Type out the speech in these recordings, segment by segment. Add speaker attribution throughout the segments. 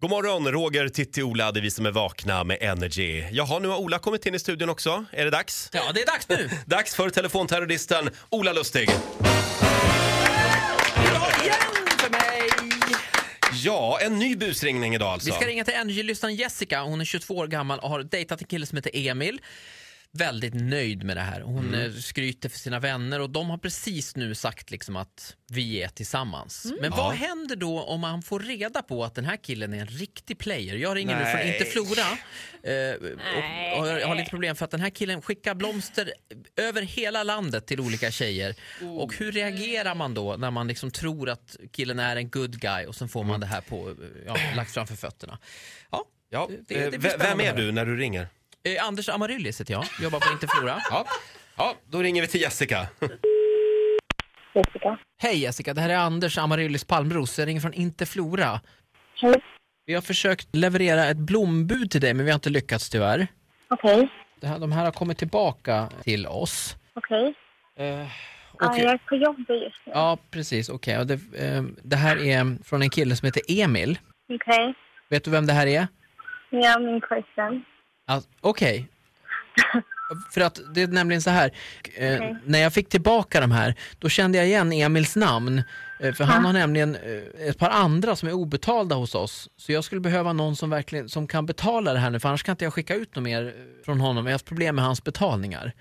Speaker 1: God morgon, Roger, Titti, Ola, det är vi som är vakna med Energy. Jaha, nu har Ola kommit in i studion också. Är det dags?
Speaker 2: Ja, det är dags nu!
Speaker 1: Dags för telefonterroristen Ola Lustig.
Speaker 2: Bra igen för mig!
Speaker 1: Ja, en ny busringning idag alltså.
Speaker 2: Vi ska ringa till NJ-lyssnaren Jessica. Hon är 22 år gammal och har dejtat en kille som heter Emil. Väldigt nöjd med det här. Hon
Speaker 1: Mm.
Speaker 2: eh, skryter för sina vänner och de har precis nu sagt liksom att vi är tillsammans. Men vad
Speaker 1: Mm. Ja.
Speaker 2: händer då om man får reda på att den här killen är en riktig player? Jag ringer nu från
Speaker 1: Nej.
Speaker 2: Inte Flora eh, och, och jag har lite problem för att den här killen skickar blomster över hela landet till olika tjejer.
Speaker 1: Oh.
Speaker 2: Och hur reagerar man då när man liksom tror att killen är en good guy och sen får man det här på, eh, ja, lagt framför fötterna? Ja,
Speaker 1: Ja,
Speaker 2: det- det
Speaker 1: eh,
Speaker 2: blir
Speaker 1: ve- vem
Speaker 2: spännande
Speaker 1: är
Speaker 2: här.
Speaker 1: du när du ringer?
Speaker 2: Eh, Anders Amaryllis heter jag, jobbar på Inte Flora.
Speaker 1: Ja. ja, då ringer vi till Jessica.
Speaker 3: Jessica.
Speaker 2: Hej Jessica, det här är Anders Amaryllis Palmros. Jag ringer från Inte Flora.
Speaker 3: Hej.
Speaker 2: Vi har försökt leverera ett blombud till dig, men vi har inte lyckats tyvärr.
Speaker 3: Okej.
Speaker 2: Det här, de här har kommit tillbaka till oss.
Speaker 3: Okej.
Speaker 2: Eh,
Speaker 3: Ja,
Speaker 2: och-
Speaker 3: jag är på jobbet just nu.
Speaker 2: Ja, precis. Okej. Och Det, eh, det här är från en kille som heter Emil.
Speaker 3: Okej.
Speaker 2: Vet du vem det här är?
Speaker 3: Ni är min pojkvän.
Speaker 2: Ja, Okej. För att det är nämligen så här, eh,
Speaker 3: Okej.
Speaker 2: när jag fick tillbaka de här, då kände jag igen Emils namn. Eh, för han har nämligen eh, ett par andra som är obetalda hos oss. Så jag skulle behöva någon som verkligen som kan betala det här nu, för annars kan inte jag skicka ut något mer eh, från honom. Jag har haft problem med hans betalningar.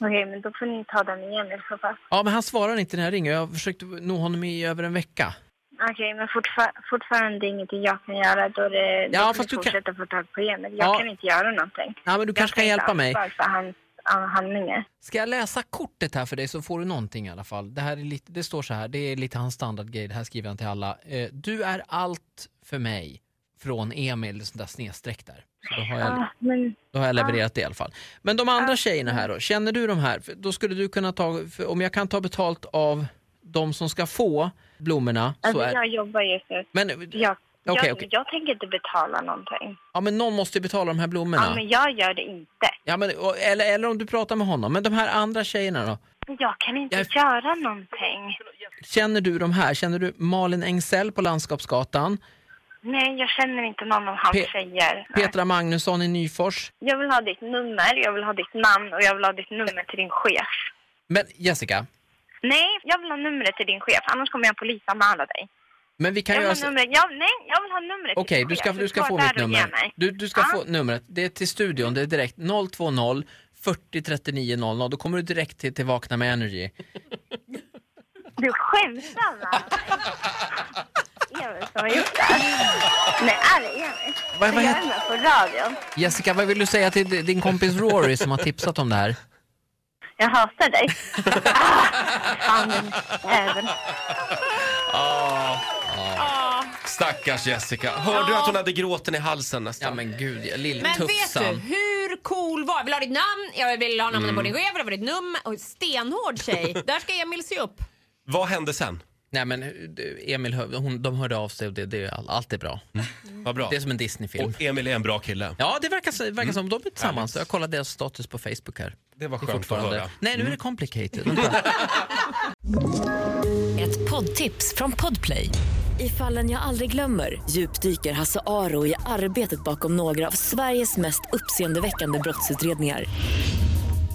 Speaker 3: Okej, men då får ni ta den igen i så fall.
Speaker 2: Ja, men han svarar inte när jag ringer. Jag har försökt nå honom i över en vecka.
Speaker 3: Okej, men fortfar- fortfarande ingenting jag kan göra. Då det,
Speaker 2: Ja,
Speaker 3: då får
Speaker 2: fast
Speaker 3: ni
Speaker 2: du kan-
Speaker 3: fortsätta få tag på Emil. Jag
Speaker 2: Ja.
Speaker 3: kan inte göra någonting.
Speaker 2: Ja, men du kanske kan hjälpa mig.
Speaker 3: Jag kan inte ansvara för hans handlingar.
Speaker 2: Ska jag läsa kortet här för dig så får du någonting i alla fall. Det, här är lite, det står så här, det är lite hans standardgrej, det här skriver han till alla. Eh, du är allt för mig från Emil, sånt där snedstreck där. Så då, har jag,
Speaker 3: Ah, men
Speaker 2: då har jag levererat det i alla fall. Men de andra tjejerna här då, känner du de här? För Då skulle du kunna ta, för om jag kan ta betalt av de som ska få blommorna så
Speaker 3: alltså,
Speaker 2: är
Speaker 3: jag jobbar just nu.
Speaker 2: men,
Speaker 3: Jag,
Speaker 2: Okej,
Speaker 3: jag,
Speaker 2: okej.
Speaker 3: jag tänker inte betala någonting.
Speaker 2: ja, men någon måste ju betala de här blommorna.
Speaker 3: Ja, men jag gör det inte.
Speaker 2: Ja, men, och- eller, eller om du pratar med honom. Men de här andra tjejerna då?
Speaker 3: Jag kan inte
Speaker 2: Jag-
Speaker 3: göra någonting.
Speaker 2: Känner du de här? Känner du Malin Engsell på Landskapsgatan?
Speaker 3: Nej, jag känner inte någon av hans
Speaker 2: Pe-
Speaker 3: tjejer. Nej.
Speaker 2: Petra Magnusson i Nyfors.
Speaker 3: Jag vill ha ditt nummer, jag vill ha ditt namn och jag vill ha ditt nummer till din chef.
Speaker 2: Men Jessica,
Speaker 3: Nej, jag vill ha numret till din chef, annars kommer jag polisanmäla dig.
Speaker 2: men vi kan
Speaker 3: Jag vill
Speaker 2: göra...
Speaker 3: ha
Speaker 2: så-
Speaker 3: numret. Jag, nej, jag vill ha numret
Speaker 2: Okej,
Speaker 3: till din
Speaker 2: du ska,
Speaker 3: chef.
Speaker 2: du ska
Speaker 3: står
Speaker 2: få
Speaker 3: där
Speaker 2: mitt
Speaker 3: och ger
Speaker 2: nummer.
Speaker 3: mig.
Speaker 2: Du, du ska
Speaker 3: Ja.
Speaker 2: få numret. Det är till studion, det är direkt 020 40 39 00. Då kommer du direkt till, till Vakna med Energy.
Speaker 3: Du skämtar va? Emil som har gjort det här. Nej, är det Emil?
Speaker 2: Vad- vad
Speaker 3: jag
Speaker 2: heter-
Speaker 3: är med på radion.
Speaker 2: Jessica, vad vill du säga till di- din kompis Rory som har tipsat om det här?
Speaker 3: Jag hatar dig. ah, fan, den även.
Speaker 1: Ah, Stackars Jessica. Hörde du
Speaker 2: Ah.
Speaker 1: att hon hade gråten i halsen nästan?
Speaker 2: men gud,
Speaker 4: Men vet du, hur cool var Jag vill ha ditt namn, jag vill ha namnet på din chef, jag vill ha ditt nummer. Och stenhård tjej. Där ska Emil se upp.
Speaker 1: Vad hände sen?
Speaker 2: Nej men du, Emil, hör- hon, de hörde av sig och det, det, all- allt är bra.
Speaker 1: Vad bra.
Speaker 2: Det är som en Disney-film.
Speaker 1: Och Emil är en bra kille.
Speaker 2: Ja, det verkar, så- det verkar som. De är tillsammans. Jag kollade deras status på Facebook här.
Speaker 1: Det var
Speaker 2: är
Speaker 1: Mm. skönt att
Speaker 2: fortfarande-
Speaker 1: höra. Mm.
Speaker 2: Nej, nu är det complicated.
Speaker 5: Ett poddtips från Podplay. I fallen jag aldrig glömmer djupdyker Hasse Aro i arbetet bakom några av Sveriges mest uppseendeväckande brottsutredningar.